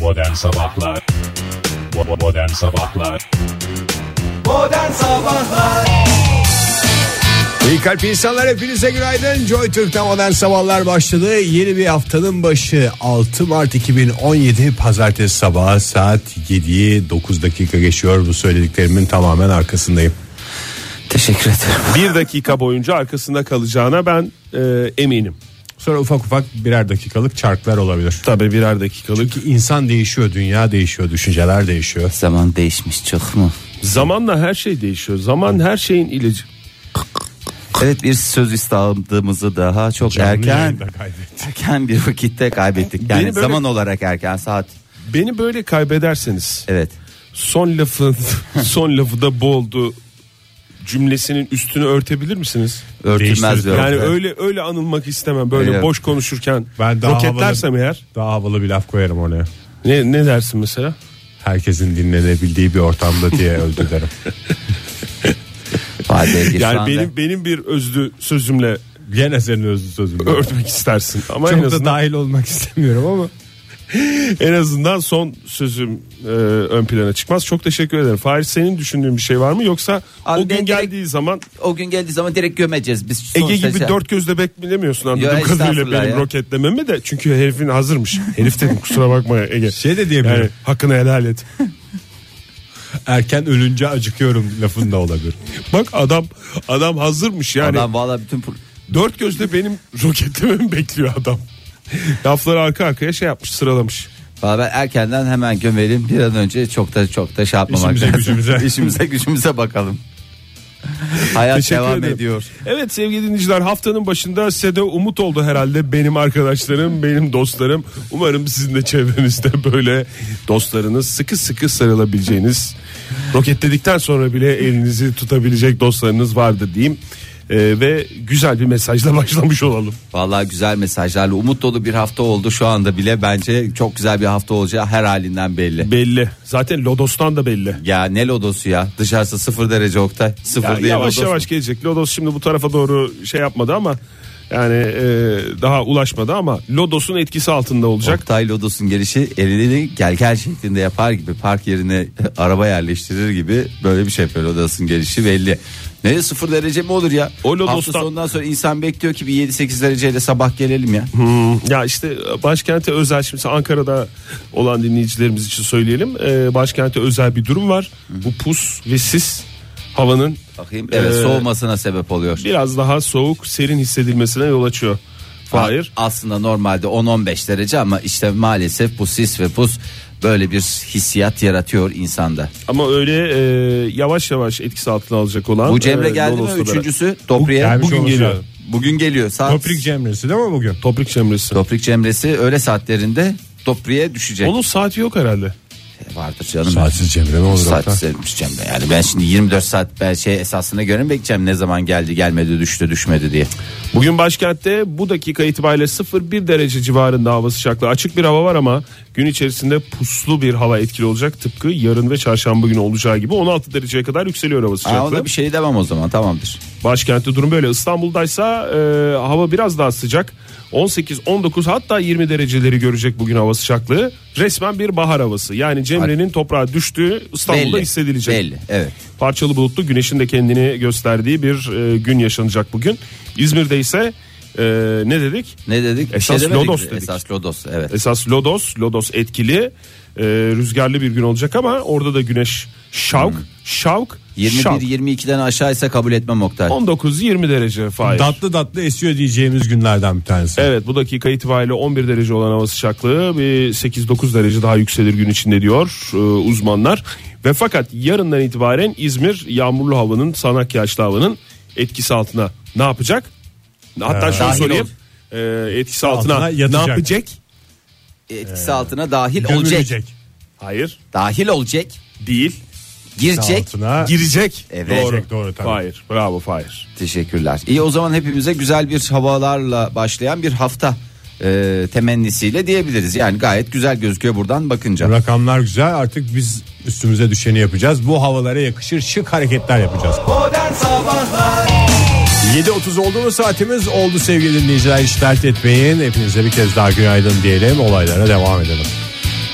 Modern Sabahlar Bo- Modern Sabahlar Modern Sabahlar İyi kalp insanlar hepinize günaydın Joy Türk'te modern sabahlar başladı Yeni bir haftanın başı 6 Mart 2017 Pazartesi sabahı saat 7'yi 9 dakika geçiyor Bu söylediklerimin tamamen arkasındayım Teşekkür ederim. bir dakika boyunca arkasında kalacağına ben e, eminim. Sonra ufak ufak birer dakikalık çarklar olabilir Tabii birer dakikalık. Çünkü insan değişiyor, dünya değişiyor, düşünceler değişiyor Zaman değişmiş çok mu? Zamanla her şey değişiyor. Zaman her şeyin ilacı. Evet bir söz istahımızı daha çok erken yayında kaybettik. erken bir vakitte kaybettik. Yani Beni böyle- zaman olarak erken saat. Beni böyle kaybederseniz Evet. son lafı son lafı da bu oldu cümlesinin üstünü örtebilir misiniz? Örtülmez bir Değiştirdik. Yani örtü. öyle öyle anılmak istemem. Böyle Evet. boş konuşurken Ben daha roketlersem havalı, eğer Daha havalı bir laf koyarım oraya ne ne dersin mesela? Herkesin dinlenebildiği bir ortamda diye öldü derim Vay be, bir Yani anda- benim benim bir özlü sözümle Gene senin özlü sözün örtmek istersin. Ama en Çok da azından dahil olmak istemiyorum ama En azından son sözüm e, ön plana çıkmaz. Çok teşekkür ederim. Fahir senin düşündüğün bir şey var mı? Yoksa Abi o ben gün direkt- geldiği zaman o gün geldiği zaman direkt gömeceğiz biz. Ege Sonuçta gibi şey- dört gözle beklemiyorsun anladığım Ya, kadarıyla estağfurullah benim ya. roketlememi de. Çünkü herifin hazırmış. Herif dedim kusura bakma Ege. Şey de diyebilirim. Yani hakkını helal et. erken ölünce acıkıyorum lafın da olabilir. Bak adam adam hazırmış yani. Adam valla bütün pro- Dört gözle benim roketlememi bekliyor adam. Lafları arka arkaya şey yapmış sıralamış. Valla ben erkenden hemen gömelim bir an önce çok da çok da şey yapmamak İşimize, lazım. gücümüze. İşimize gücümüze bakalım. Hayat devam ederim. ediyor. Evet sevgili dinleyiciler haftanın başında size de umut oldu herhalde benim arkadaşlarım, benim dostlarım. Umarım sizin de çevrenizde böyle dostlarınız sıkı sıkı sarılabileceğiniz, roketledikten sonra bile elinizi tutabilecek dostlarınız vardı diyeyim. Ee, ve güzel bir mesajla başlamış olalım. Vallahi güzel mesajlarla umut dolu bir hafta oldu şu anda bile bence çok güzel bir hafta olacağı her halinden belli. Belli. Zaten Lodos'tan da belli. Ya ne lodosu ya dışarısı sıfır derece Oktay sıfır Ya diye yavaş lodos mu? yavaş gelecek. Lodos şimdi bu tarafa doğru şey yapmadı ama yani e, daha ulaşmadı ama Lodos'un etkisi altında olacak. Oktay lodosun gelişi elini gel gel şeklinde yapar gibi park yerine araba yerleştirir gibi böyle bir şey yapıyor lodosun gelişi belli. Ne sıfır derece mi olur ya? O lodostan- Hafta sonundan sonra insan bekliyor ki bir 7-8 dereceyle sabah gelelim ya. Ya işte başkente özel şimdi Ankara'da olan dinleyicilerimiz için söyleyelim. Ee, başkente özel bir durum var. Bu pus ve sis havanın Bakayım evet Ee, soğumasına sebep oluyor. biraz daha soğuk, serin hissedilmesine yol açıyor. Hayır. A- Aslında normalde 10-15 derece ama işte maalesef bu sis ve pus böyle bir hissiyat yaratıyor insanda. Ama öyle e, yavaş yavaş etkisi altına alacak olan. Bu Cemre e, geldi mi? Lodos'ta da- Üçüncüsü Dopriye. gelmiş Bugün olması geliyor. lazım. Bugün geliyor. Saat Toprik Cemresi değil mi bugün? Toprik Cemre'si. Toprik Cemresi öğle saatlerinde Dopriye düşecek. Onun saati yok herhalde. Vardır canım. Saatsiz Cemre ne olur Saat Oktay? sevmiş Cemre. Yani ben şimdi 24 saat ben şey esasına göre mi bekleyeceğim ne zaman geldi gelmedi düştü düşmedi diye. Bugün başkentte bu dakika itibariyle 0-1 derece civarında hava sıcaklığı. Açık bir hava var ama gün içerisinde puslu bir hava etkili olacak. Tıpkı yarın ve çarşamba günü olacağı gibi 16 dereceye kadar yükseliyor hava Aa, ona sıcaklığı. bir şey demem o zaman tamamdır. Başkentte durum böyle. İstanbul'daysa e, hava biraz daha sıcak. 18-19 hatta 20 dereceleri görecek bugün hava sıcaklığı. Resmen bir bahar havası. Yani Cemre'nin toprağa düştüğü İstanbul'da Belli, hissedilecek. belli, evet. Parçalı bulutlu güneşin de kendini gösterdiği bir e, gün yaşanacak bugün. İzmir'de ise e, ne dedik? Ne dedik? Bir Esas şey demedik lodos mi? dedik. Esas lodos evet. Esas Lodos, Lodos etkili, e, rüzgarlı bir gün olacak ama orada da güneş şavk, şavk, şavk. 21-22'den aşağıysa kabul etmem Oktay. 19-20 derece faiz. Tatlı tatlı esiyor diyeceğimiz günlerden bir tanesi. Evet bu dakika itibariyle 11 derece olan hava sıcaklığı bir 8-9 derece daha yükselir gün içinde diyor e, uzmanlar. Ve fakat yarından itibaren İzmir yağmurlu havanın sanak yağışlı havanın etkisi altına ne yapacak? Hatta şunu Dahil sorayım. E, etkisi altına, Altına yatacak. ne yapacak? Etkisi Ee, altına dahil olacak. Gömülecek. Hayır Dahil olacak. değil Girecek. Altına girecek. Evet. Doğru, doğru, tabii. Hayır bravo Fahir. Teşekkürler. İyi o zaman hepimize güzel bir havalarla başlayan bir hafta e, temennisiyle diyebiliriz. Yani gayet güzel gözüküyor buradan bakınca. rakamlar güzel artık biz üstümüze düşeni yapacağız. Bu havalara yakışır şık hareketler yapacağız. Modern Sabahlar 7.30 oldu mu saatimiz oldu sevgili dinleyiciler hiç dert etmeyin. Hepinize bir kez daha günaydın diyelim olaylara devam edelim.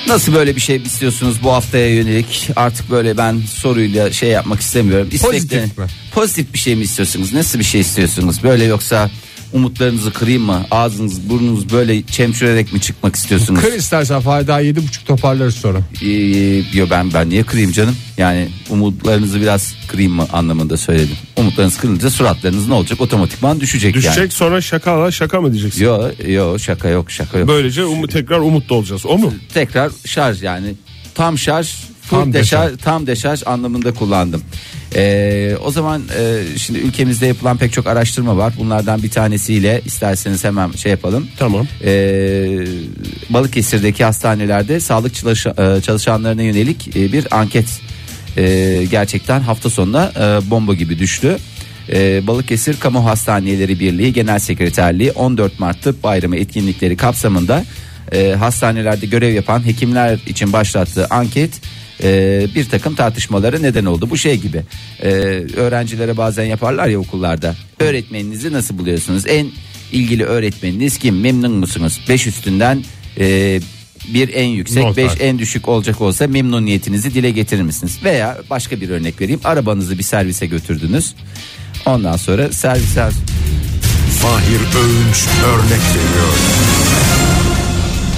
Nasıl böyle bir şey istiyorsunuz bu haftaya yönelik? Artık böyle ben soruyla şey yapmak istemiyorum. İsteklerin- mi? Pozitif bir şey mi istiyorsunuz? Nasıl bir şey istiyorsunuz? Böyle yoksa umutlarınızı kırayım mı? Ağzınız burnunuz böyle çemşürerek mi çıkmak istiyorsunuz? Kır istersen Fahri yedi buçuk toparlarız sonra. Ee, diyor ben ben niye kırayım canım? Yani umutlarınızı biraz kırayım mı anlamında söyledim. Umutlarınız kırılınca suratlarınız ne olacak? Otomatikman düşecek, Düşecek yani. sonra şakala şaka mı diyeceksin? Yo yo şaka yok şaka yok. Böylece umu, tekrar umutlu olacağız. O mu? tekrar şarj yani tam şarj full Tam deşarj, deşarj. tam deşarj anlamında kullandım. Ee, o zaman e, şimdi ülkemizde yapılan pek çok araştırma var. Bunlardan bir tanesiyle isterseniz hemen şey yapalım. Tamam. Ee, Balıkesir'deki hastanelerde sağlık çalışa- e, çalışanlarına yönelik e, bir anket e, gerçekten hafta sonuna e, bomba gibi düştü. E, Balıkesir Kamu Hastaneleri Birliği Genel Sekreterliği 14 Mart Tıp Bayramı etkinlikleri kapsamında e, hastanelerde görev yapan hekimler için başlattığı anket e, bir takım tartışmalara neden oldu. Bu şey gibi e, öğrencilere bazen yaparlar ya okullarda. Öğretmeninizi nasıl buluyorsunuz? En ilgili öğretmeniniz kim? Memnun musunuz? 5 üstünden e, bir en yüksek, Not 5 var. en düşük olacak olsa memnuniyetinizi dile getirir misiniz? Veya başka bir örnek vereyim. Arabanızı bir servise götürdünüz. Ondan sonra servise Fahir Öğünç örnek veriyor.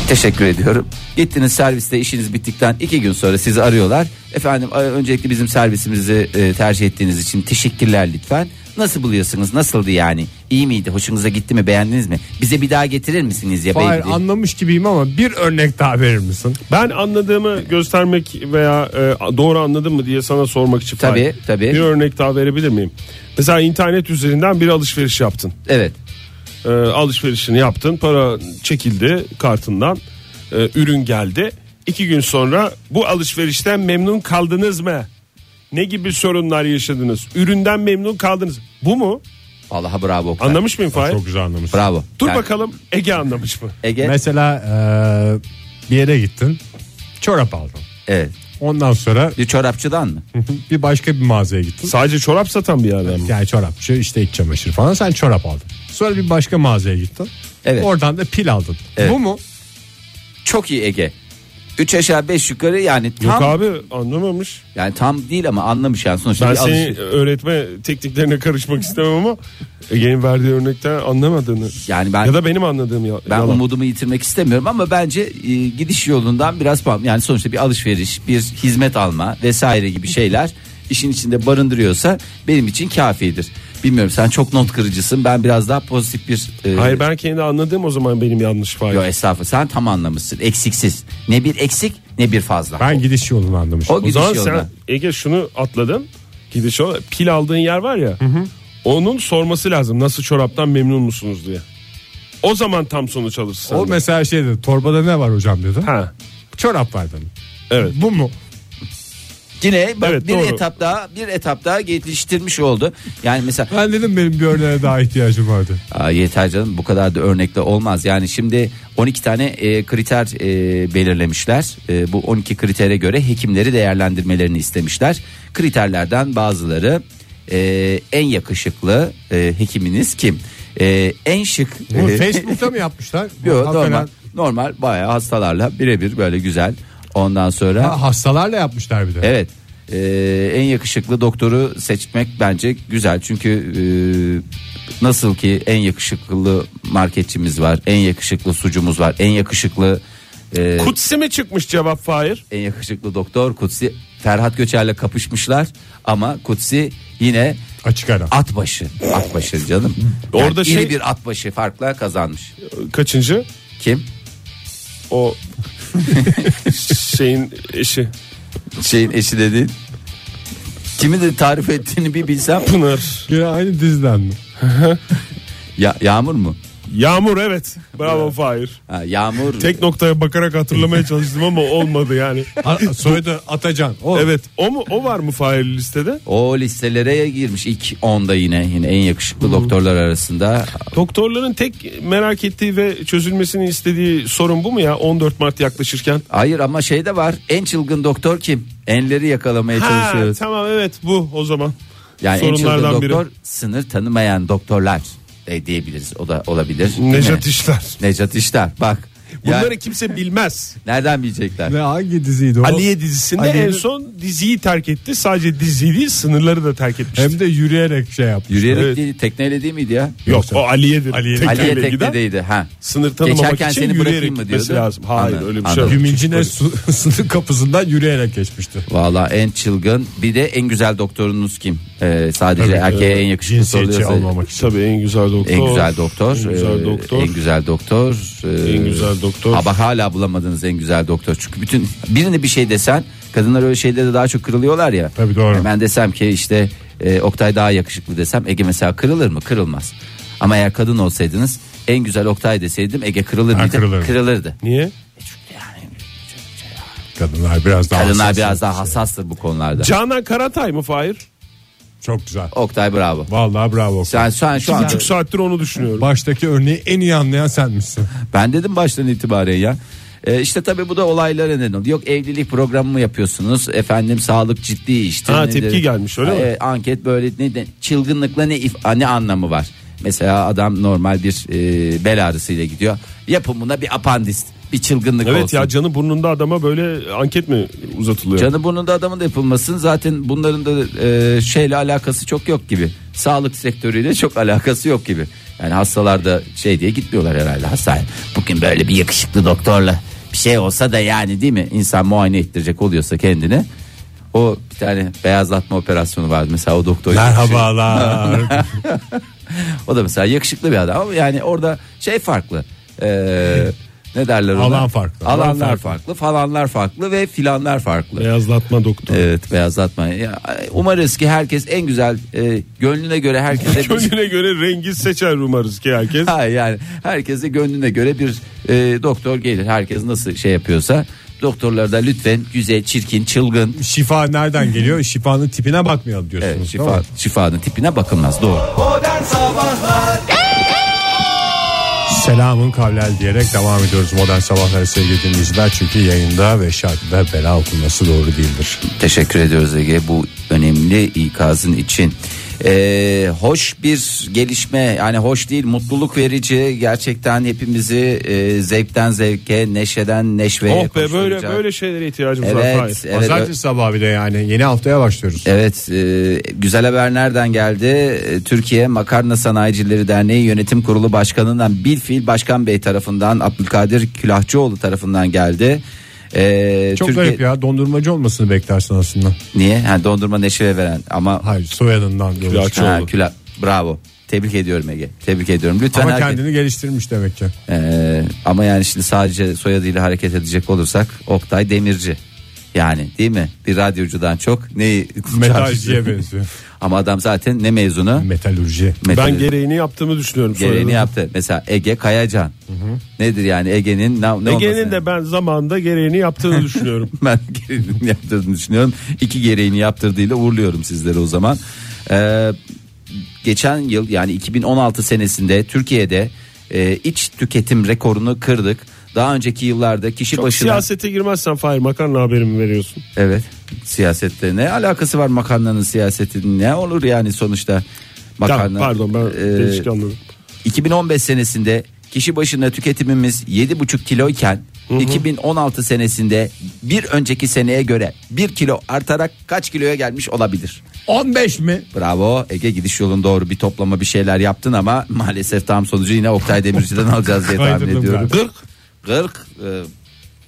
Teşekkür ediyorum. Gittiniz serviste işiniz bittikten iki gün sonra sizi arıyorlar. Efendim a- öncelikle bizim servisimizi e, tercih ettiğiniz için teşekkürler lütfen. Nasıl buluyorsunuz? Nasıldı yani? İyi miydi? Hoşunuza gitti mi? Beğendiniz mi? Bize bir daha getirir misiniz ya? Fahir beyefendi? anlamış gibiyim ama bir örnek daha verir misin? Ben anladığımı göstermek veya e, doğru anladım mı diye sana sormak için. Tabii, Fahir. tabii. Bir örnek daha verebilir miyim? Mesela internet üzerinden bir alışveriş yaptın. Evet. E, alışverişini yaptın. Para çekildi kartından. E, ürün geldi. İki gün sonra bu alışverişten memnun kaldınız mı? Ne gibi sorunlar yaşadınız? Üründen memnun kaldınız. Bu mu? Vallahi bravo. Oktay. Anlamış mıyım Fahir? Çok güzel anlamış. Bravo. Dur Yani bakalım Ege anlamış mı? Ege. Mesela e, bir yere gittin çorap aldın. evet. Ondan sonra Bir çorapçıdan mı? bir başka bir mağazaya E- gittin. Sadece çorap satan bir yerden mi? Yani çorapçı işte iç çamaşır falan sen çorap aldın. Sonra bir başka mağazaya gittin. Evet. Oradan da pil aldın. Evet. Bu mu? Çok iyi Ege. Üç aşağı beş yukarı yani tam Yok abi anlamamış. yani tam değil ama anlamış yani sonuçta. Ben bir alış- seni öğretme tekniklerine karışmak istemem ama Ege'nin verdiği örnekten anlamadığını. Yani ben- ya da benim anladığım ya. Ben yalan. umudumu yitirmek istemiyorum ama bence e, gidiş yolundan biraz pam- yani sonuçta bir alışveriş, bir hizmet alma vesaire gibi şeyler işin içinde barındırıyorsa benim için kafidir. Bilmiyorum sen çok not kırıcısın. Ben biraz daha pozitif bir e, Hayır ben kendi anladığım o zaman benim yanlış var. yo, estağfurullah. Sen tam anlamışsın. Eksiksiz. Ne bir eksik ne bir fazla. Ben gidiş yolunu anlamışım. o o gidiş zaman yolundan. sen Ege şunu atladın. Gidiş yol pil aldığın yer var ya. Onun sorması lazım. Nasıl çoraptan memnun musunuz diye. O zaman tam sonuç alırsın. O mesela şey dedi torbada ne var hocam dedi. ha. Çorap var dedi. Evet. Bu mu? Yine bak, Evet, bir doğru. etap daha bir etap daha geliştirmiş oldu. Yani mesela Ben dedim benim bir örneğe daha ihtiyacım vardı. Aa, yeter canım bu kadar da örnekle olmaz. Yani şimdi 12 tane e, kriter e, belirlemişler. E, bu 12 kritere göre hekimleri değerlendirmelerini istemişler. Kriterlerden bazıları e, en yakışıklı e, hekiminiz kim? E, en şık. Bunu e, Facebook'ta mı yapmışlar? yo, normal, Hakikaten- normal bayağı hastalarla birebir böyle güzel. Ondan sonra. Ha, hastalarla yapmışlar bir de. Evet. Ee, en yakışıklı doktoru seçmek bence güzel. Çünkü e, nasıl ki en yakışıklı marketçimiz var, en yakışıklı sucumuz var, en yakışıklı e, Kutsi mi çıkmış cevap Fahir? en yakışıklı doktor Kutsi Ferhat Göçer'le kapışmışlar ama Kutsi yine Açık ara. at başı. At başı canım. Yani Orada iri şey- bir at başı farkla kazanmış. Kaçıncı? Kim? O şeyin eşi. Şeyin eşi dediğin. Kimi de tarif ettiğini bir bilsem. Pınar. Yine aynı diziden mi? Ya, yağmur mu? Yağmur evet. Bravo Fahir. Ha, yağmur. Tek noktaya bakarak hatırlamaya çalıştım ama olmadı yani. A- Soyadı Atacan. O. Evet. O mu o var mı Fahir listede? O listelere girmiş ilk 10'da yine yine en yakışıklı doktorlar arasında. Doktorların tek merak ettiği ve çözülmesini istediği sorun bu mu ya 14 Mart yaklaşırken? Hayır ama şey de var. En çılgın doktor kim? Enleri yakalamaya Ha, çalışıyoruz. tamam evet bu o zaman. Yani en çılgın sorunlardan biri. doktor sınır tanımayan doktorlar e, diyebiliriz. O da olabilir. değil mi? Nejat İşler. Nejat İşler. Bak. Bunları Yani- kimse bilmez. Nereden bilecekler? Ve hangi diziydi o? Aliye dizisinde Aliye- en son diziyi terk etti. Sadece diziyi değil sınırları da terk etmişti. Hem de yürüyerek şey yaptı. Yürüyerek Evet. değil tekneyle değil miydi ya? Yok o Aliye'dir. Aliye Tekneyle giden, teknedeydi. Ha. Sınır tanımamak Geçerken için seni bırakayım yürüyerek mı gitmesi diyordu? lazım. Hayır Anladım, öyle bir şey anladım. yok. Yumuncine su- sınır kapısından yürüyerek geçmişti. Valla en çılgın bir de en güzel doktorunuz kim? Ee, sadece erkeğe en yakışıklısı Cinsiyetçi oluyorsa. almamak için. Tabii en güzel doktor. En güzel doktor. En güzel ee, doktor. En güzel doktor. ee, En güzel doktor. Ha bak hala bulamadınız en güzel doktor. Çünkü bütün birine bir şey desen kadınlar öyle şeylerde daha çok kırılıyorlar ya. Tabii, doğru. Ben desem ki işte e, Oktay daha yakışıklı desem Ege mesela kırılır mı? Kırılmaz. Ama eğer kadın olsaydınız en güzel Oktay deseydim Ege kırılır Ha, mıydı? kırılırdı. Kırılırdı. Niye? Kadınlar biraz daha Kadınlar hassas. biraz daha hassastır bu konularda. Canan Karatay mı Fahir? Çok güzel. Oktay bravo. Vallahi bravo. Sen şu an şu an Buçuk saattir onu düşünüyorum. Baştaki örneği en iyi anlayan senmişsin. ben dedim baştan itibaren ya. E, işte tabii bu da olaylara neden oldu. Yok evlilik programı mı yapıyorsunuz? Efendim sağlık ciddi işte. Ha, tepki gelmiş, öyle mi? E, anket böyle ne de- çılgınlıkla ne if- ne anlamı var? Mesela adam normal bir e, bel ağrısıyla gidiyor. Yapın buna bir apandist, bir çılgınlık Evet olsun. ya canı burnunda adama böyle anket mi uzatılıyor? Canı burnunda adamın da yapılmasın. Zaten bunların da e, şeyle alakası çok yok gibi. Sağlık sektörüyle çok alakası yok gibi. Yani hastalarda şey diye gitmiyorlar herhalde hastaneye. Bugün böyle bir yakışıklı doktorla bir şey olsa da yani değil mi? İnsan muayene ettirecek oluyorsa kendine. O bir tane beyazlatma operasyonu vardı mesela o doktor. Merhabalar. O da mesela yakışıklı bir adam ama yani orada şey farklı. Ee, ne derler ona? Alan farklı. Alanlar Alan farklı. farklı. falanlar farklı ve filanlar farklı. Beyazlatma doktor. Evet beyazlatma. Ya, Umarız ki herkes en güzel e, gönlüne göre herkese bir, Gönlüne göre rengi seçer umarız ki herkes. ha, yani herkese gönlüne göre bir e, doktor gelir. Herkes nasıl şey yapıyorsa doktorlar da lütfen güzel, çirkin, çılgın Şifa nereden geliyor? Şifanın tipine bakmayalım diyorsunuz. Evet, değil şifa, mi? şifanın tipine bakılmaz doğru. Modern Sabahlar Selamın kavlel diyerek devam ediyoruz modern sabahları sevgili dinleyiciler. Çünkü yayında ve şarkıda bela okunması doğru değildir. Teşekkür ediyoruz Ege bu önemli ikazın için. Ee, hoş bir gelişme yani hoş değil mutluluk verici gerçekten hepimizi e, zevkten zevke neşeden neşveye oh be böyle koşturacak. böyle şeylere ihtiyacımız var. Evet, Fahir. evet, Pazartesi sabahı bile yani yeni haftaya başlıyoruz. Evet e, güzel haber nereden geldi? E, Türkiye Makarna Sanayicileri Derneği Yönetim Kurulu Başkanı'ndan Bilfil Başkan Bey tarafından Abdülkadir Külahçıoğlu tarafından geldi. E, Çok Türkiye- garip ya dondurmacı olmasını beklersin aslında. Niye? Ha, dondurma neşe veren ama Hayır soyadından. yola Külahçı çıkıyor. Ha, oldu. külah- bravo. Tebrik ediyorum Ege. Tebrik ediyorum. Lütfen Ama herkes- kendini geliştirmiş demek ki. Ee, ama yani şimdi sadece soyadıyla hareket edecek olursak Oktay Demirci. Yani değil mi? Bir radyocudan çok neyi Metalciye benziyor. Ama adam zaten ne mezunu? Metalurji. Metal- Ben gereğini yaptığımı düşünüyorum. gereğini soyadını. yaptı. Mesela Ege Kayacan. Nedir yani Ege'nin ne, ne Ege'nin olması? de ben zamanında gereğini yaptığını düşünüyorum. ben gereğini yaptırdığını düşünüyorum. İki gereğini yaptırdığıyla uğurluyorum sizleri o zaman. Ee, geçen yıl yani 2016 senesinde Türkiye'de e, iç tüketim rekorunu kırdık. Daha önceki yıllarda kişi Çok başına siyasete girmezsen Fahir makarna haberimi veriyorsun. evet siyasette ne alakası var makarnanın siyasetinin ne olur yani sonuçta makarna. Tamam, pardon ben Ee, değişik anladım. 2015 senesinde kişi başına tüketimimiz 7,5 kiloyken 2016 senesinde bir önceki seneye göre 1 kilo artarak kaç kiloya gelmiş olabilir? 15 mi? Bravo Ege gidiş yolun doğru bir toplama bir şeyler yaptın ama maalesef tam sonucu yine Oktay Demirci'den alacağız diye tahmin Kaydırdım ediyorum. ben. 40. 40. e,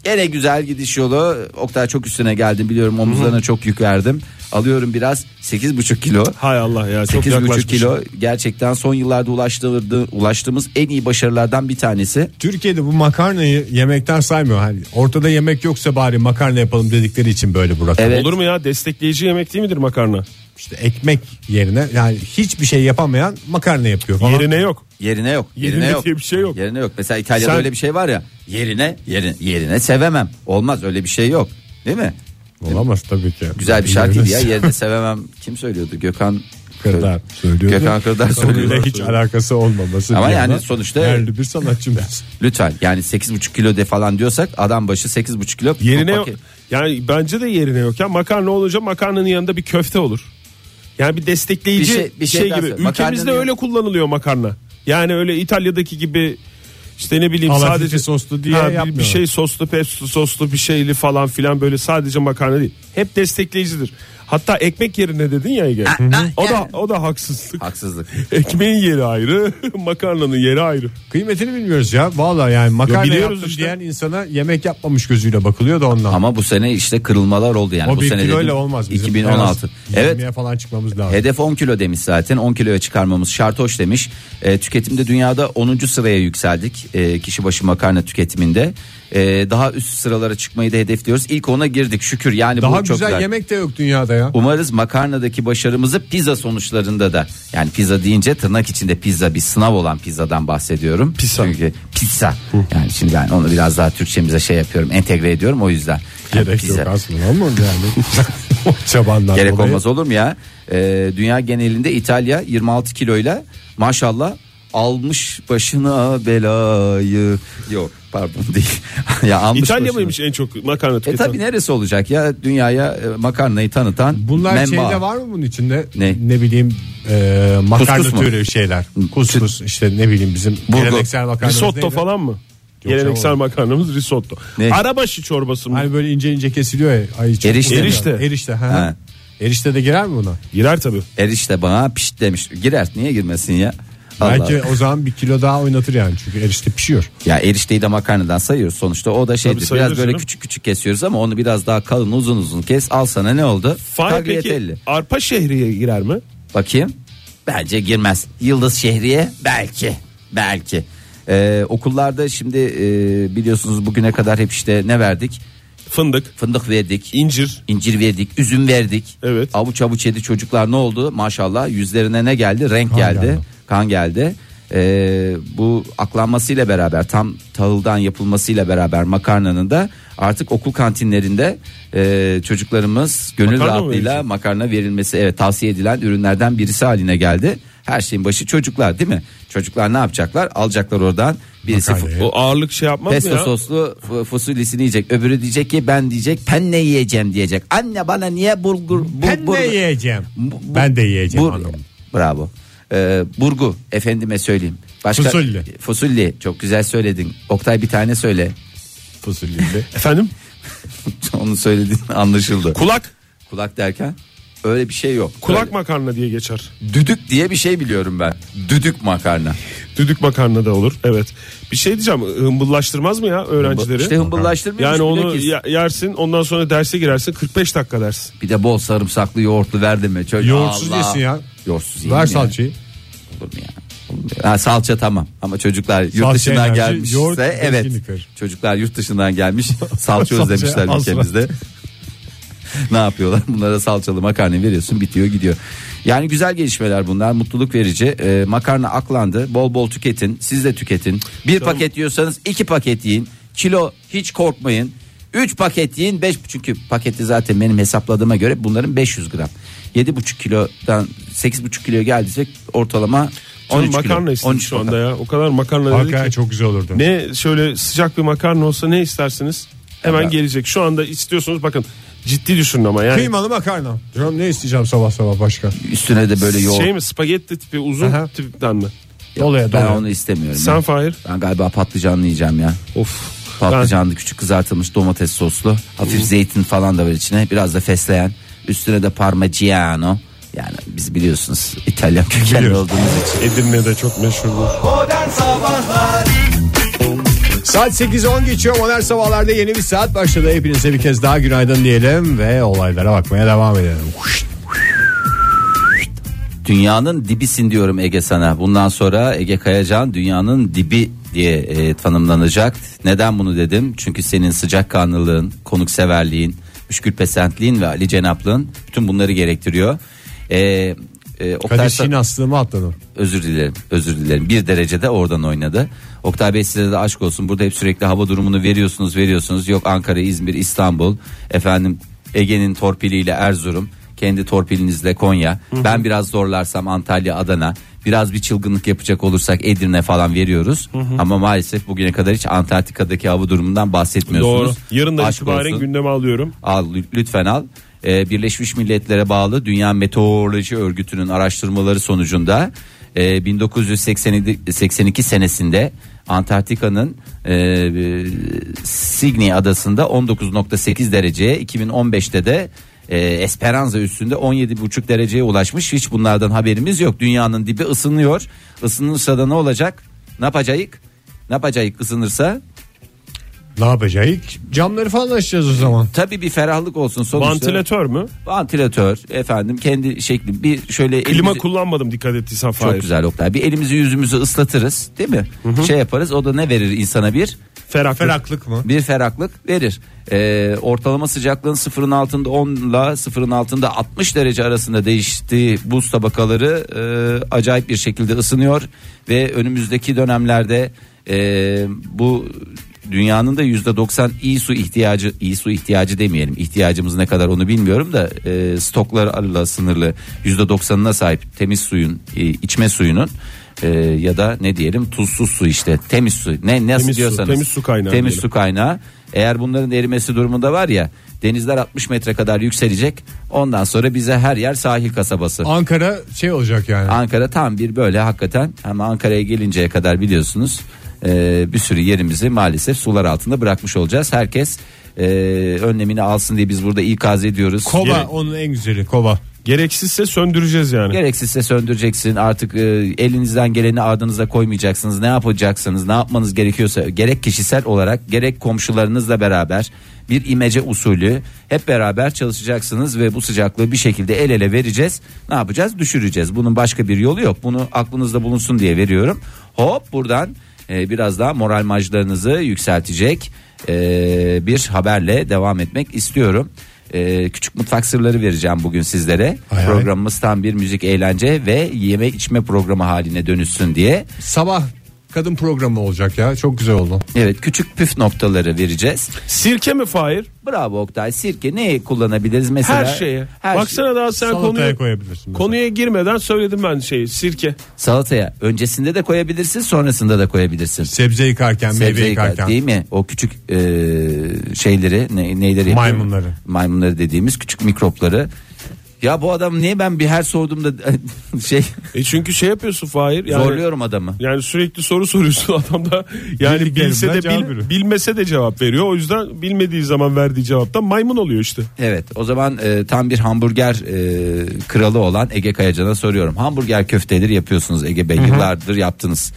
Gene güzel gidiş yolu. Oktay çok üstüne geldim biliyorum omuzlarına çok yük verdim. Alıyorum biraz 8,5 kilo. Hay Allah ya çok 8,5 yaklaşmışım. kilo gerçekten son yıllarda ulaştırdı, ulaştığımız en iyi başarılardan bir tanesi. Türkiye'de bu makarnayı yemekten saymıyor. Hani ortada yemek yoksa bari makarna yapalım dedikleri için böyle bu rakam. Evet. Olur mu ya destekleyici yemek değil midir makarna? İşte ekmek yerine yani hiçbir şey yapamayan makarna yapıyor falan. Yerine yok. Yerine yok. Yerine, Yerine yok. diye bir şey yok. Yerine yok. Mesela İtalya'da Sen- öyle bir şey var ya. Yerine, yerine, yerine sevemem. Olmaz öyle bir şey yok. Değil mi? Olamaz tabii ki. Güzel bir şarkıydı ya. Yerine sevemem. Kim söylüyordu? Gökhan Kırdar söylüyordu. Gökhan Kırdar Konuyla söylüyor. hiç alakası olmaması. Ama bir yani yana sonuçta- değerli bir sanatçımız. Lütfen yani 8,5 kilo de falan diyorsak adam başı 8,5 kilo. Yerine yok. paket. Yani bence de yerine yok ya. Makarna olunca makarnanın yanında bir köfte olur. Yani bir destekleyici Bir bir şey- şey, bir şey daha gibi. söyle. Makarnanın Ülkemizde yanı- öyle kullanılıyor makarna. Yani öyle İtalya'daki gibi İşte ne bileyim Halafeti sadece soslu diye Ha, bir- bir, yapmıyorlar. şey soslu, pesto soslu bir şeyli falan filan böyle sadece makarna değil. Hep destekleyicidir. Hatta ekmek yerine dedin ya Ege. o da o da haksızlık. Haksızlık. Ekmeğin yeri ayrı, makarnanın yeri ayrı. Kıymetini bilmiyoruz ya. Vallahi yani makarna biliyoruz yaptım işte. diyen insana yemek yapmamış gözüyle bakılıyor da ondan. Ama bu sene işte kırılmalar oldu yani. o bu bir sene kiloyla dedim, olmaz bizim. 2016. En az Evet. 20'ye falan çıkmamız lazım. Hedef 10 kilo demiş zaten. 10 kiloya çıkarmamız şart hoş demiş. E, tüketimde dünyada 10. sıraya yükseldik. E, kişi başı makarna tüketiminde. E, daha üst sıralara çıkmayı da hedefliyoruz. İlk ona girdik şükür. Yani Daha bu çok güzel, yemek de yok dünyada ya. Umarız makarnadaki başarımızı pizza sonuçlarında da yani pizza deyince tırnak içinde pizza bir sınav olan pizzadan bahsediyorum. Pizza. Çünkü pizza. Yani şimdi ben onu biraz daha Türkçemize şey yapıyorum entegre ediyorum o yüzden. Yani Gerek yok aslında ama yani. o çabandan Gerek dolayı. olmaz olur mu ya? Ee, dünya genelinde İtalya 26 kiloyla maşallah almış başına belayı. Yok pardon değil. ya almış İtalya başına- mıymış en çok makarna E tüketen? tabi neresi olacak ya dünyaya e, makarnayı tanıtan Bunlar menba. şeyde var mı bunun içinde? Ne? bileyim e, makarna Kuskus mu? türü şeyler. Kuskus işte ne bileyim bizim Bulgur. geleneksel makarnamız Risotto neydi? falan mı? Yok, Geleneksel canım. makarnamız risotto. Ne? Arabaşı çorbası mı? Hani böyle ince ince kesiliyor ya. Ay, çok Erişte. uzun. Erişte. Erişte. Ha. Ha. Erişte de girer mi buna? Girer tabii. Erişte Er bana piş demiş. Girer niye girmesin ya? Allah. Belki o zaman bir kilo daha oynatır yani çünkü erişte pişiyor. Ya erişteyi de makarnadan sayıyoruz sonuçta. O da şeydir. sayılır Biraz böyle canım. küçük küçük kesiyoruz ama onu biraz daha kalın uzun uzun kes. Al sana ne oldu? Fahir peki Tagliatelle. arpa şehriye girer mi? Bakayım. Bence girmez. Yıldız Şehriye belki. Belki. Ee, okullarda şimdi e, biliyorsunuz bugüne kadar hep işte ne verdik? Fındık, Fındık verdik. incir. incir verdik, üzüm verdik. Evet. Avuç avuç yedi çocuklar ne oldu? Maşallah yüzlerine ne geldi? Renk Kan geldi, geldi. kan geldi. Ee, bu aklanmasıyla beraber tam tahıldan yapılmasıyla beraber makarnanın da artık okul kantinlerinde e, çocuklarımız gönül Makarna mı rahatlığıyla verecek? makarna verilmesi evet tavsiye edilen ürünlerden birisi haline geldi. Her şeyin başı çocuklar değil mi? Çocuklar ne yapacaklar? Alacaklar oradan birisi Makarnayı. fu- O ağırlık şey yapmaz Pesto mı ya? soslu f- fusulisini yiyecek. Öbürü diyecek ki ben diyecek penne yiyeceğim diyecek. Anne bana niye bulgur bu- Ben bur- de yiyeceğim. bu- bu- ben de yiyeceğim bur- hanım. Bravo. Ee, burgu efendime söyleyeyim. Başka Fusulli. Fusulli çok güzel söyledin. Oktay bir tane söyle. Fasulyeli. Efendim? Onu söyledin anlaşıldı. Kulak. Kulak derken öyle bir şey yok. Kulak Öyle- makarna diye geçer. düdük diye bir şey biliyorum ben. Düdük makarna. Düdük makarna da olur. Evet. Bir şey diyeceğim. Hımbıllaştırmaz mı ya öğrencileri? İşte hımbıllaştırmıyor. yani musun? onu Bilakis. ya- yersin ondan sonra derse girersin 45 dakika dersin. bir de bol sarımsaklı yoğurtlu verdin mi? Çocuk, Yoğurtsuz Allah. yesin ya. Yoğurtsuz yiyin Ver ya. salçayı. Olur mu ya? Olur mu ya? Ha, salça tamam ama çocuklar yurt Salça dışından enerji, gelmişse yoğurt, evet zenginlik verir. çocuklar yurt dışından gelmiş salça Salça özlemişler az ülkemizde. ne yapıyorlar bunlara salçalı makarna veriyorsun bitiyor gidiyor. Yani güzel gelişmeler bunlar mutluluk verici Ee, makarna aklandı bol bol tüketin siz de tüketin bir paket yiyorsanız iki paket yiyin kilo hiç korkmayın. 3 paket yiyin 5 çünkü paketi zaten benim hesapladığıma göre bunların 500 gram. 7,5 kilodan 8,5 kiloya geldiyse ortalama Canım 13 kilo. makarna istedim 13 şu anda makarna. ya. O kadar makarna dedi Hakikaten ki. çok güzel olurdu. Ne şöyle sıcak bir makarna olsa ne istersiniz? Hemen gelecek. Şu anda istiyorsunuz bakın ciddi düşünün ama yani. Kıymalı makarna. Canım ne isteyeceğim sabah sabah başka? Üstüne de böyle yoğurt. Şey mi spagetti tipi uzun Aha. tipten mi? Dolaya ben dolaya. onu istemiyorum. Sen ya. Fahir. Ben galiba patlıcanlı yiyeceğim ya. Of. Patlıcanlı küçük kızartılmış domates soslu. Hafif zeytin falan da var içine. Biraz da fesleğen. Üstüne de parmigiano. Yani biz biliyorsunuz İtalyan kökenli Biliyoruz. olduğumuz için. Edirne'de çok meşhurdur. Modern Sabahlar Saat 8.10 geçiyor modern sabahlarda yeni bir saat başladı. Hepinize bir kez daha günaydın diyelim ve olaylara bakmaya devam edelim. Dünyanın dibisin diyorum Ege sana. Bundan sonra Ege Kayacan dünyanın dibi diye e, tanımlanacak. Neden bunu dedim? Çünkü senin sıcakkanlılığın, konukseverliğin, müşkülpesentliğin ve Ali Cenaplığın bütün bunları gerektiriyor. E, e, Oktay Kadir Sa- Şin aslımı atladım. özür dilerim özür dilerim bir derecede oradan oynadı. Oktay Bey size de aşk olsun burada hep sürekli hava durumunu veriyorsunuz veriyorsunuz yok Ankara İzmir İstanbul efendim Ege'nin torpiliyle Erzurum kendi torpilinizle Konya ben biraz zorlarsam Antalya Adana biraz bir çılgınlık yapacak olursak Edirne falan veriyoruz ama maalesef bugüne kadar hiç Antarktika'daki hava durumundan Doğru. bahsetmiyorsunuz. Yarın da Aşk itibaren olsun. gündeme alıyorum. Al lü- lütfen al. Ee, Birleşmiş Milletler'e bağlı Dünya Meteoroloji Örgütü'nün araştırmaları sonucunda e, 1982 82 senesinde Antarktika'nın e, e, Sydney adasında 19.8 dereceye 2015'te de e, Esperanza üstünde 17.5 dereceye ulaşmış. Hiç bunlardan haberimiz yok. Dünyanın dibi ısınıyor. Isınırsa da ne olacak? Ne yapacağız? Ne yapacağız ısınırsa? Ne yapacağız? Camları falan açacağız o zaman. Tabii bir ferahlık olsun sonuçta. Vantilatör mü? Vantilatör efendim kendi şekli bir şöyle Klima elimizi- kullanmadım dikkat ettiysen çok Fahir. güzel Oktay. Bir elimizi yüzümüzü ıslatırız değil mi? Şey yaparız o da ne verir insana bir? Ferah. Feraklık mı? Bir ferahlık verir. Ee, ortalama sıcaklığın sıfırın altında 10 ile sıfırın altında 60 derece arasında değiştiği buz tabakaları e, acayip bir şekilde ısınıyor. Ve önümüzdeki dönemlerde e, bu dünyanın da %90 iyi su ihtiyacı iyi su ihtiyacı demeyelim ihtiyacımız ne kadar onu bilmiyorum da e, stoklar arasında sınırlı %90'ına sahip temiz suyun e, içme suyunun e, ya da ne diyelim tuzsuz su işte temiz su ne nasıl Temiz su, diyorsanız temiz su kaynağı temiz diyelim. su kaynağı eğer bunların erimesi durumunda var ya denizler 60 metre kadar yükselecek ondan sonra bize her yer sahil kasabası Ankara şey olacak yani. Ankara tam bir böyle hakikaten ama Ankara'ya gelinceye kadar biliyorsunuz e, bir sürü yerimizi maalesef sular altında bırakmış olacağız herkes e, önlemini alsın diye biz burada ikaz ediyoruz Kova Yere- onun en güzeli kova. Gereksizse söndüreceğiz yani. Gereksizse söndüreceksin artık e, elinizden geleni ardınıza koymayacaksınız ne yapacaksınız ne yapmanız gerekiyorsa gerek kişisel olarak gerek komşularınızla beraber bir imece usulü hep beraber çalışacaksınız ve bu sıcaklığı bir şekilde el ele vereceğiz ne yapacağız düşüreceğiz bunun başka bir yolu yok bunu aklınızda bulunsun diye veriyorum hop buradan e, biraz daha moral majlarınızı yükseltecek e, bir haberle devam etmek istiyorum. E, küçük mutfak sırları vereceğim bugün sizlere. Ay ay. Programımız tam bir müzik, eğlence ve yeme içme programı haline dönüşsün diye. Sabah kadın programı olacak ya. Çok güzel oldu. Evet, küçük püf noktaları vereceğiz. Sirke mi Fahir? Bravo Oktay. Sirke neye kullanabiliriz mesela? Her şeye. Her Baksana şey- daha sen Salataya konuya, koyabilirsin. konuya girmeden söyledim ben şeyi sirke. Salataya öncesinde de koyabilirsin, sonrasında da koyabilirsin. Sebze yıkarken, meyve Sebze yıkar, yıkarken. değil mi? O küçük e, şeyleri ne, neyleri yapıyor? Maymunları. Maymunları dediğimiz küçük mikropları. Ya bu adam niye ben bir her sorduğumda şey E çünkü şey yapıyorsun Fahir. Yani, zorluyorum adamı. Yani sürekli soru soruyorsun adam da yani Bildiklerinden bilse de cevap bil- veriyor. bilmese de cevap veriyor. O yüzden bilmediği zaman verdiği cevaptan maymun oluyor işte. Evet o zaman e, tam bir hamburger e, kralı olan Ege Kayacan'a soruyorum. Hamburger köfteleri yapıyorsunuz Ege Bey yıllardır yaptınız.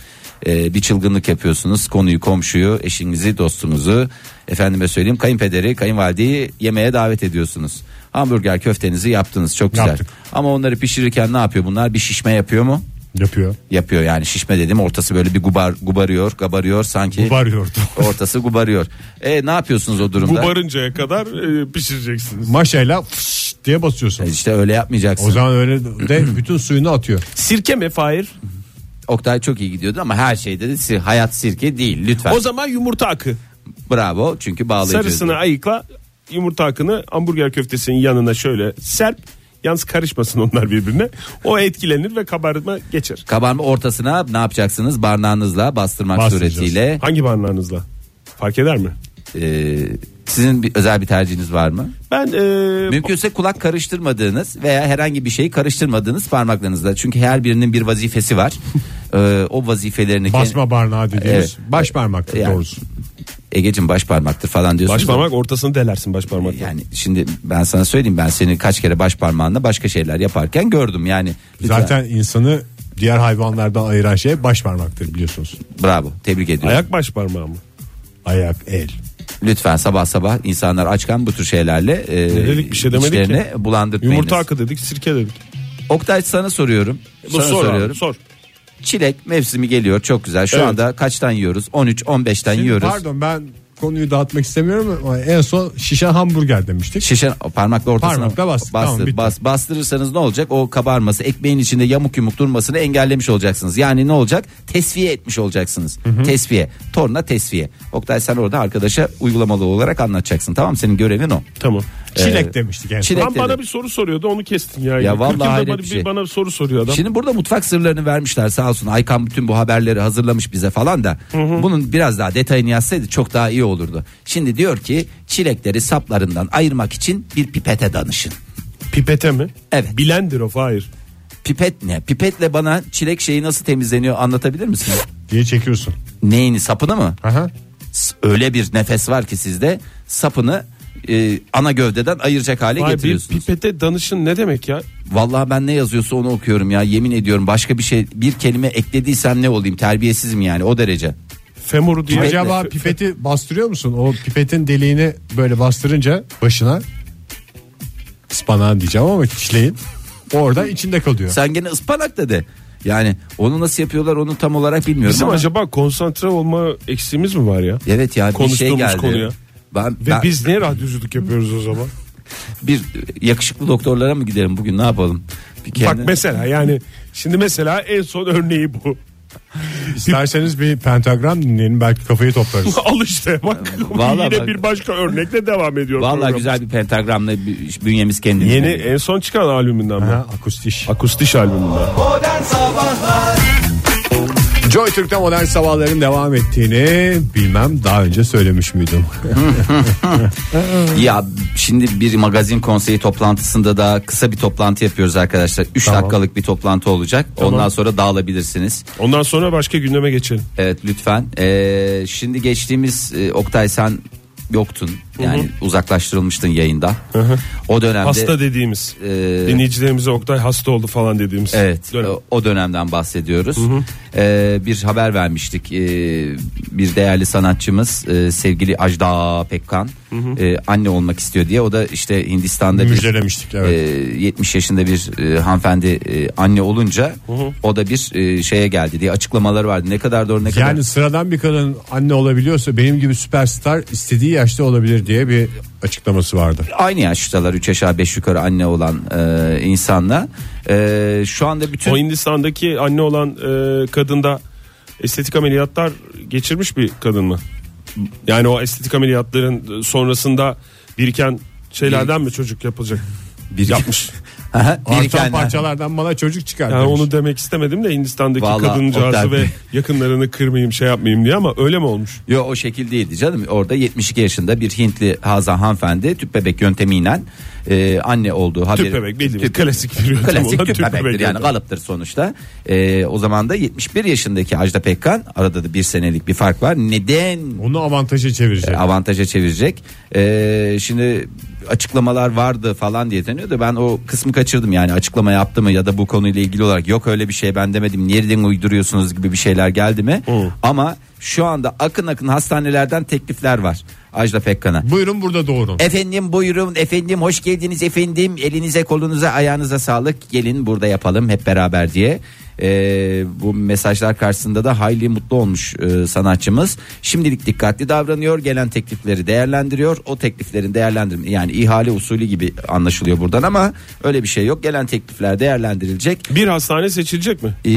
E, bir çılgınlık yapıyorsunuz konuyu komşuyu eşinizi dostunuzu efendime söyleyeyim kayınpederi kayınvalideyi yemeğe davet ediyorsunuz. Hamburger köftenizi yaptınız çok güzel. Yaptık. Ama onları pişirirken ne yapıyor bunlar bir şişme yapıyor mu? Yapıyor. Yapıyor yani şişme dedim ortası böyle bir gubar gubarıyor kabarıyor sanki. Varıyordu. Ortası gubarıyor. E ne yapıyorsunuz o durumda? Gubarıncaya kadar e, pişireceksiniz. Maşayla fış diye basıyorsun. İşte öyle yapmayacaksın. O zaman öyle de bütün suyunu atıyor. Sirke mi Fahir? Oktay çok iyi gidiyordu ama her şeyde de sir- hayat sirke değil lütfen. O zaman yumurta akı. Bravo çünkü bağlayıcı. Sarısını ayıkla yumurta akını hamburger köftesinin yanına şöyle serp. Yalnız karışmasın onlar birbirine. O etkilenir ve kabarma geçer. Kabarma ortasına ne yapacaksınız? Barnağınızla bastırmak Bastıracağız. suretiyle. Hangi barnağınızla? Fark eder mi? Ee, sizin bir, özel bir tercihiniz var mı? Ben e, Mümkünse kulak karıştırmadığınız veya herhangi bir şeyi karıştırmadığınız parmaklarınızla. Çünkü her birinin bir vazifesi var. Ee, o vazifelerini... Basma barnağı dediğimiz. Evet. Baş parmak Yani- doğrusu. Egecim baş parmaktır falan diyorsunuz. baş parmak ortasını delersin baş parmakla. Yani şimdi ben sana söyleyeyim ben seni kaç kere baş parmağınla başka şeyler yaparken gördüm yani. Lütfen. Zaten insanı diğer hayvanlardan ayıran şey baş parmaktır biliyorsunuz. Bravo tebrik ediyorum. Ayak baş parmağı mı? Ayak, el. Lütfen sabah sabah insanlar açken bu tür şeylerle e, Ne dedik, bir şey demedik içlerini ki. bulandırtmayınız. Yumurta akı dedik, sirke dedik. Oktay sana soruyorum. Bu sana sor abi, soruyorum. sor. Çilek mevsimi geliyor çok güzel. Şu Evet. anda kaçtan yiyoruz? 13 15'ten Şimdi yiyoruz. Pardon ben konuyu dağıtmak istemiyorum ama en son şişe hamburger demiştik. Şişe parmakla ortasına Parmakla bastık, tamam, bastır- bitti. bas- bastırırsanız ne olacak? O kabarması, ekmeğin içinde yamuk yumuk durmasını engellemiş olacaksınız. Yani ne olacak? Tesviye etmiş olacaksınız. Tesviye, torna tesviye. Oktay sen orada arkadaşa uygulamalı olarak anlatacaksın. Tamam mı? Senin görevin o. Tamam. Çilek demiştik en son. Ee, Çilek Lan bana dedi. bir soru soruyordu onu kestin ya. Ya Kırk vallahi yılda hayret bana, bir bir şey. bana bir soru soruyor adam. Şimdi burada mutfak sırlarını vermişler sağ olsun. Aykan bütün bu haberleri hazırlamış bize falan da. Bunun biraz daha detayını yazsaydı çok daha iyi olurdu. Şimdi diyor ki çilekleri saplarından ayırmak için bir pipete danışın. Pipete mi? Evet. Bilendir o hayır. Pipet ne? Pipetle bana çilek şeyi nasıl temizleniyor anlatabilir misin? diye çekiyorsun. Neyini sapını mı? Aha. S- Öyle bir nefes var ki sizde sapını e, ana gövdeden ayıracak hale Vay bir getiriyorsunuz. pipete danışın ne demek ya? Vallahi ben ne yazıyorsa onu okuyorum ya yemin ediyorum başka bir şey bir kelime eklediysem ne olayım terbiyesizim yani o derece. Femur diye. Pipet- Acaba pipeti bastırıyor musun? O pipetin deliğini böyle bastırınca başına ıspanağın diyeceğim ama çileğin orada içinde kalıyor. Sen gene ıspanak dedi. Yani onu nasıl yapıyorlar onu tam olarak bilmiyorum Bizim ama. acaba konsantre olma eksiğimiz mi var ya? Evet ya bir şey Konuştuğumuz geldi. konuya. Ben, Ve ben biz niye radyoculuk yapıyoruz o zaman? bir yakışıklı doktorlara mı gidelim bugün ne yapalım? Bir Bak kendine- mesela yani şimdi mesela en son örneği bu. İsterseniz bir pentagram dinleyelim belki kafayı toplarız. Al işte bak. Ee, Vallahi yine bak. bir başka örnekle devam ediyor. Vallahi program. güzel bir pentagramla bir- bünyemiz kendini. Yeni en son çıkan albümünden mi? Ha, akustiş. Akustiş albümünden. Modern Sabahlar Joy Türk'te modern sabahların devam ettiğini bilmem daha önce söylemiş müydüm? Ya şimdi bir magazin konseyi toplantısında da kısa bir toplantı yapıyoruz arkadaşlar. 3 dakikalık bir toplantı olacak. Ondan sonra dağılabilirsiniz. Ondan sonra başka gündeme geçelim. Evet lütfen. Ee, şimdi geçtiğimiz e, Oktay sen yoktun. Yani uzaklaştırılmıştın yayında. O dönemde Hasta dediğimiz. e, Dinleyicilerimize Oktay hasta oldu falan dediğimiz. Evet dönem. o- o dönemden bahsediyoruz. Ee, bir haber vermiştik. Ee, bir değerli sanatçımız e, sevgili Ajda Pekkan e, anne olmak istiyor diye. O da işte Hindistan'da bir Müjdelemiştik evet. e, 70 yaşında bir e, hanımefendi e, anne olunca o da bir e, şeye geldi diye açıklamaları vardı. Ne kadar doğru ne kadar Yani sıradan bir kadın anne olabiliyorsa benim gibi süperstar istediği yaşta olabilir diye bir açıklaması vardı. aynı yaştalar 3 aşağı 5 yukarı anne olan e, insanla E, şu anda bütün O Hindistan'daki anne olan e, kadında estetik ameliyatlar geçirmiş bir kadın mı? Yani o estetik ameliyatların sonrasında biriken şeylerden mi çocuk yapılacak? bir yapmış. Aha, Artan birikenler. parçalardan bana çocuk çıkar Yani demiş. onu demek istemedim de Hindistan'daki Vallahi kadıncağızı Oktay ve Bey. yakınlarını kırmayayım şey yapmayayım diye ama öyle mi olmuş? Yo o şekil değildi canım. Orada 72 yaşında bir Hintli Hazan hanımefendi tüp bebek yöntemiyle e, anne olduğu haberi. Tüp bebek bildiğimiz klasik bir yöntem Klasik olan tüp, tüp bebektir yani bebek yöntemi. kalıptır sonuçta. E, o zaman da 71 yaşındaki Ajda Pekkan arada da bir senelik bir fark var. Neden Onu avantaja çevirecek. avantaja çevirecek? E, şimdi açıklamalar vardı falan diye deniyor da ben o kısmı kaçırdım yani açıklama yaptı mı ya da bu konuyla ilgili olarak yok öyle bir şey ben demedim nereden uyduruyorsunuz gibi bir şeyler geldi mi ama şu anda akın akın hastanelerden teklifler var Ajda Pekkan'a Buyurun burada doğurun. Efendim buyurun efendim hoş geldiniz efendim elinize kolunuza ayağınıza sağlık gelin burada yapalım hep beraber diye. Ee, bu mesajlar karşısında da hayli mutlu olmuş e, sanatçımız. Şimdilik dikkatli davranıyor gelen teklifleri değerlendiriyor o tekliflerin değerlendirme yani ihale usulü gibi anlaşılıyor buradan ama öyle bir şey yok gelen teklifler değerlendirilecek. Bir hastane seçilecek mi? Ee,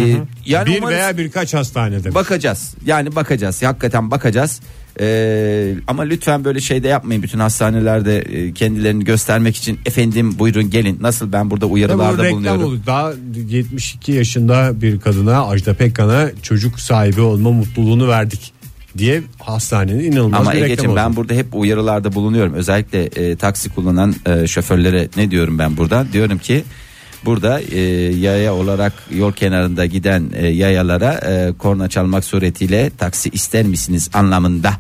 yani bir umarız- veya birkaç hastanede. Bakacağız. Yani bakacağız. Hakikaten bakacağız. Ee, ama lütfen böyle şey de yapmayın. Bütün hastanelerde e, kendilerini göstermek için efendim buyurun gelin. Nasıl ben burada Tabii bu uyarılarda reklam bulunuyorum. olur. Daha 72 yaşında bir kadına Ajda Pekkan'a çocuk sahibi olma mutluluğunu verdik diye hastanenin inanılmaz Ama bir reklam Ege'cim oldu. ben burada hep uyarılarda bulunuyorum. Özellikle e, taksi kullanan e, şoförlere ne diyorum ben buradan? Diyorum ki burada e, yaya olarak yol kenarında giden e, yayalara e, korna çalmak suretiyle taksi ister misiniz anlamında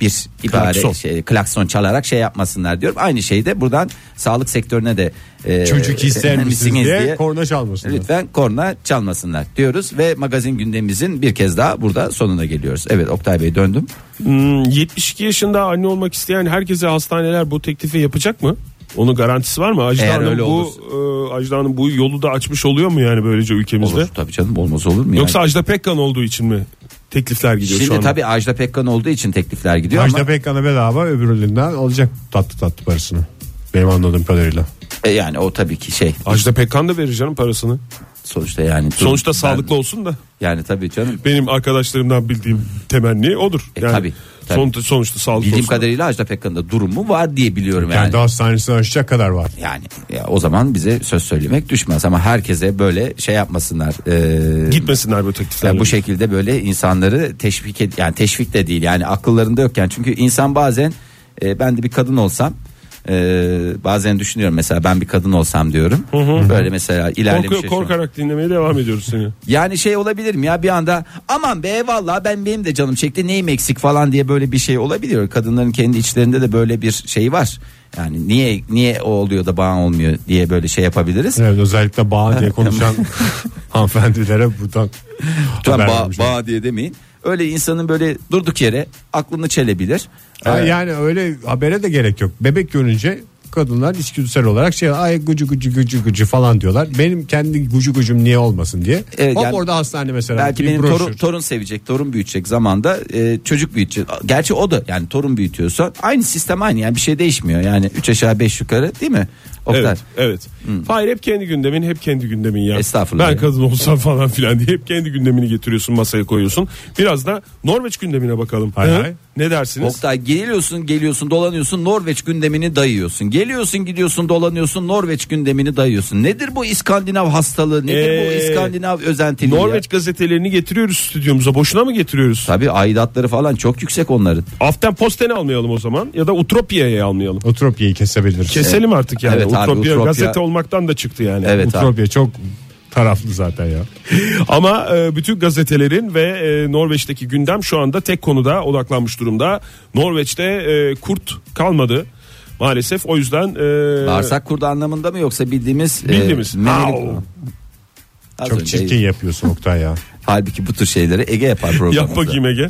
bir ibare Klakson. şey, klakson çalarak şey yapmasınlar diyorum. Aynı şeyi de buradan sağlık sektörüne de e, Çocuk ister misiniz diye, korna çalmasınlar. Lütfen korna çalmasınlar diyoruz ve magazin gündemimizin bir kez daha burada sonuna geliyoruz. Evet Oktay Bey döndüm. Hmm, 72 yaşında anne olmak isteyen herkese hastaneler bu teklifi yapacak mı? Onun garantisi var mı? Ajda Eğer Hanım öyle bu e, Ajda Hanım bu yolu da açmış oluyor mu yani böylece ülkemizde? Olur tabii canım olmaz olur mu? Yoksa yani? Ajda Pekkan olduğu için mi teklifler gidiyor şu şimdi anda? tabii Ajda Pekkan olduğu için teklifler gidiyor Ajda ama Pekkan'a bedava öbüründen alacak tatlı tatlı parasını. Benim anladığım kadarıyla. e, yani o tabii ki şey Ajda Pekkan da verir canım parasını. sonuçta yani dur- Sonuçta ben- sağlıklı olsun da. Yani tabii canım. Benim arkadaşlarımdan bildiğim temenni odur. E, tabii, tabii. son- sonuçta sağlıklı Bildiğim olsun. kadarıyla Ajda Pekkan'da durumu var diye biliyorum yani. Kendi hastanesini açacak kadar var. Yani ya, o zaman bize söz söylemek düşmez ama herkese böyle şey yapmasınlar. e, Gitmesinler bu teklifler. Yani bu şekilde böyle insanları teşvik ed yani teşvik de değil yani akıllarında yokken çünkü insan bazen e, ben de bir kadın olsam Ee, bazen düşünüyorum mesela ben bir kadın olsam diyorum. Böyle mesela ilerlemiş Korkuyor, yaşıyorum. korkarak dinlemeye devam ediyoruz seni. Yani şey olabilir mi ya bir anda aman be vallahi ben benim de canım çekti neyim eksik falan diye böyle bir şey olabiliyor. Kadınların kendi içlerinde de böyle bir şey var. Yani niye niye o oluyor da bana olmuyor diye böyle şey yapabiliriz. Evet özellikle bağ diye konuşan hanımefendilere buradan Lütfen haber ba, vermiş olayım. ba diye demeyin. Öyle insanın böyle durduk yere aklını çelebilir. Ha, Ee, Yani öyle habere de gerek yok. Bebek görünce kadınlar içgüdüsel olarak şey ay gıcı gıcı gıcı gıcı falan diyorlar. Benim kendi gıcı gıcım niye olmasın diye. Evet, Hop yani orada hastane mesela. Belki bir benim broşür. torun, torun sevecek, torun büyütecek zamanda e, çocuk büyütecek. Gerçi o da yani torun büyütüyorsa aynı sistem aynı yani bir şey değişmiyor. Yani 3 aşağı 5 yukarı değil mi? Oktay. Hmm. Evet, evet. Hayır hep kendi gündemin, hep kendi gündemin ya. Estağfurullah. Ben kadın olsam falan filan diye hep kendi gündemini getiriyorsun, masaya koyuyorsun. Biraz da Norveç gündemine bakalım. Hay Hı? hay. Ne dersiniz? Oktay geliyorsun geliyorsun dolanıyorsun Norveç gündemini dayıyorsun. Geliyorsun gidiyorsun dolanıyorsun Norveç gündemini dayıyorsun. Nedir bu İskandinav hastalığı? Nedir bu Ee, İskandinav özentiliği? ya? Norveç gazetelerini getiriyoruz stüdyomuza. Boşuna mı getiriyoruz? Tabii aidatları falan çok yüksek onların. Aften Posten'i almayalım o zaman ya da Utropia'yı almayalım. Utropia'yı kesebiliriz. Keselim artık yani. Evet abi, Utopya, Utopya- gazete olmaktan da çıktı yani. Evet abi. Utropya çok taraflı zaten ya. Ama e, bütün gazetelerin ve e, Norveç'teki gündem şu anda tek konuda odaklanmış durumda. Norveç'te e, kurt kalmadı maalesef. O yüzden e, Bağırsak kurdu anlamında mı yoksa bildiğimiz e, Bildiğimiz. memelik- Au. Az Çok önce- çirkin yapıyorsun Oktay ya. Halbuki bu tür şeyleri Ege yapar programımızda. yap bakayım Ege.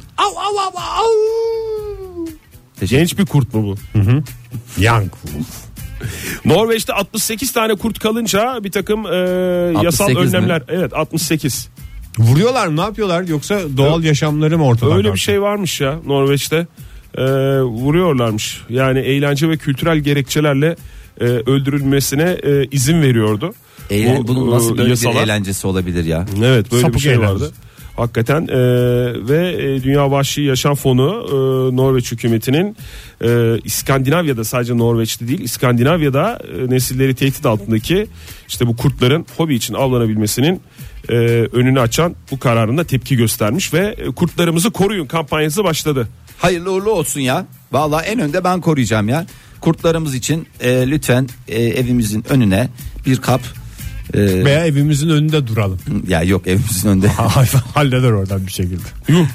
Teşekkür- Genç bir kurt mu bu? Yang. Norveç'te 68 tane kurt kalınca bir takım e, yasal 68 mi? önlemler. Evet 68. Vuruyorlar mı ne yapıyorlar yoksa doğal yaşamları mı ortadan Öyle bir kalkıyor? şey varmış ya Norveç'te. E, vuruyorlarmış. Yani eğlence ve kültürel gerekçelerle e, öldürülmesine e, izin veriyordu. Eğlen- Bu, bunun nasıl e, böyle bir yasalar. eğlencesi olabilir ya? Evet böyle Sapık bir şey eğlence. vardı. Hakikaten e, ve e, Dünya Vahşi Yaşam Fonu e, Norveç hükümetinin e, İskandinavya'da sadece Norveç'te değil İskandinavya'da e, nesilleri tehdit altındaki işte bu kurtların hobi için avlanabilmesinin e, önünü açan bu kararına tepki göstermiş ve e, kurtlarımızı koruyun kampanyası başladı. Hayırlı uğurlu olsun ya. Vallahi en önde ben koruyacağım ya. Kurtlarımız için e, lütfen e, evimizin önüne bir kap e, Veya evimizin önünde duralım. ya yok evimizin önünde. Hayvan halleder oradan bir şekilde. Yuh.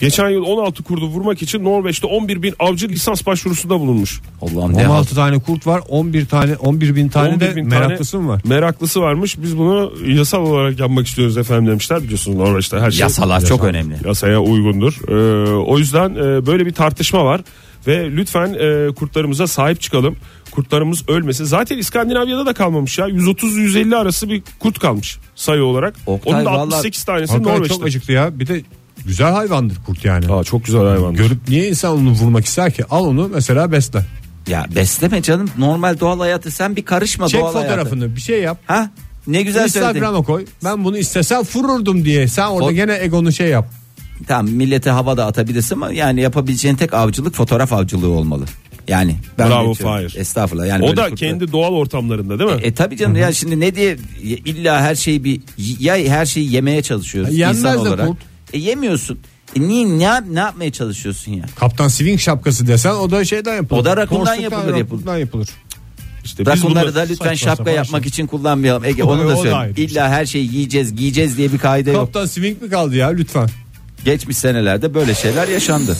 Geçen yıl 16 kurdu vurmak için Norveç'te 11 bin avcı lisans başvurusunda bulunmuş. Allah'ım ne 16 tane kurt var 11 tane 11 bin tane 11 de bin meraklısı tane mı var? Meraklısı varmış. Biz bunu yasal olarak yapmak istiyoruz efendim demişler. Biliyorsunuz Norveç'te her şey Yasalar çok önemli. Yasaya uygundur. Ee, o yüzden e, böyle bir tartışma var ve lütfen e, kurtlarımıza sahip çıkalım. Kurtlarımız ölmesin. Zaten İskandinavya'da da kalmamış ya. 130-150 arası bir kurt kalmış sayı olarak. Oktay, Onun da vallahi- 68 tanesi Hakikaten Norveç'te. çok acıktı ya. Bir de güzel hayvandır kurt yani. Aa, çok güzel hayvan. Görüp niye insan onu vurmak ister ki? Al onu mesela besle. Ya besleme canım normal doğal hayatı sen bir karışma Çek doğal hayatı. fotoğrafını bir şey yap. Ha? Ne güzel söyledin. Instagram'a koy. Ben bunu istesem vururdum diye. Sen orada Fot- gene egonu şey yap. Tamam millete havada atabilirsin ama yani yapabileceğin tek avcılık fotoğraf avcılığı olmalı. Yani ben Bravo, geçiyorum. Fahir. Estağfurullah. Yani O böyle da kurtlar- kendi doğal ortamlarında değil mi? E tabii canım ya şimdi ne diye illa her şeyi bir ya her şeyi yemeye çalışıyoruz Yenmez insan de olarak. kurt. E yemiyorsun. E niye ne, yap- ne yapmaya çalışıyorsun ya? Kaptan Swing şapkası desen o da şeyden yapılır. O da rakundan yapılır, yapılır. Rakundan yapılır. İşte biz Rakunları bunu- da lütfen E saçma şapka sapan şey. yapmak için kullanmayalım. Ege O onu da da söyle. ayrı bir şey. İlla her şeyi yiyeceğiz, giyeceğiz diye bir kaide yok. Kaptan Swing mi kaldı ya lütfen? Geçmiş senelerde böyle şeyler yaşandı.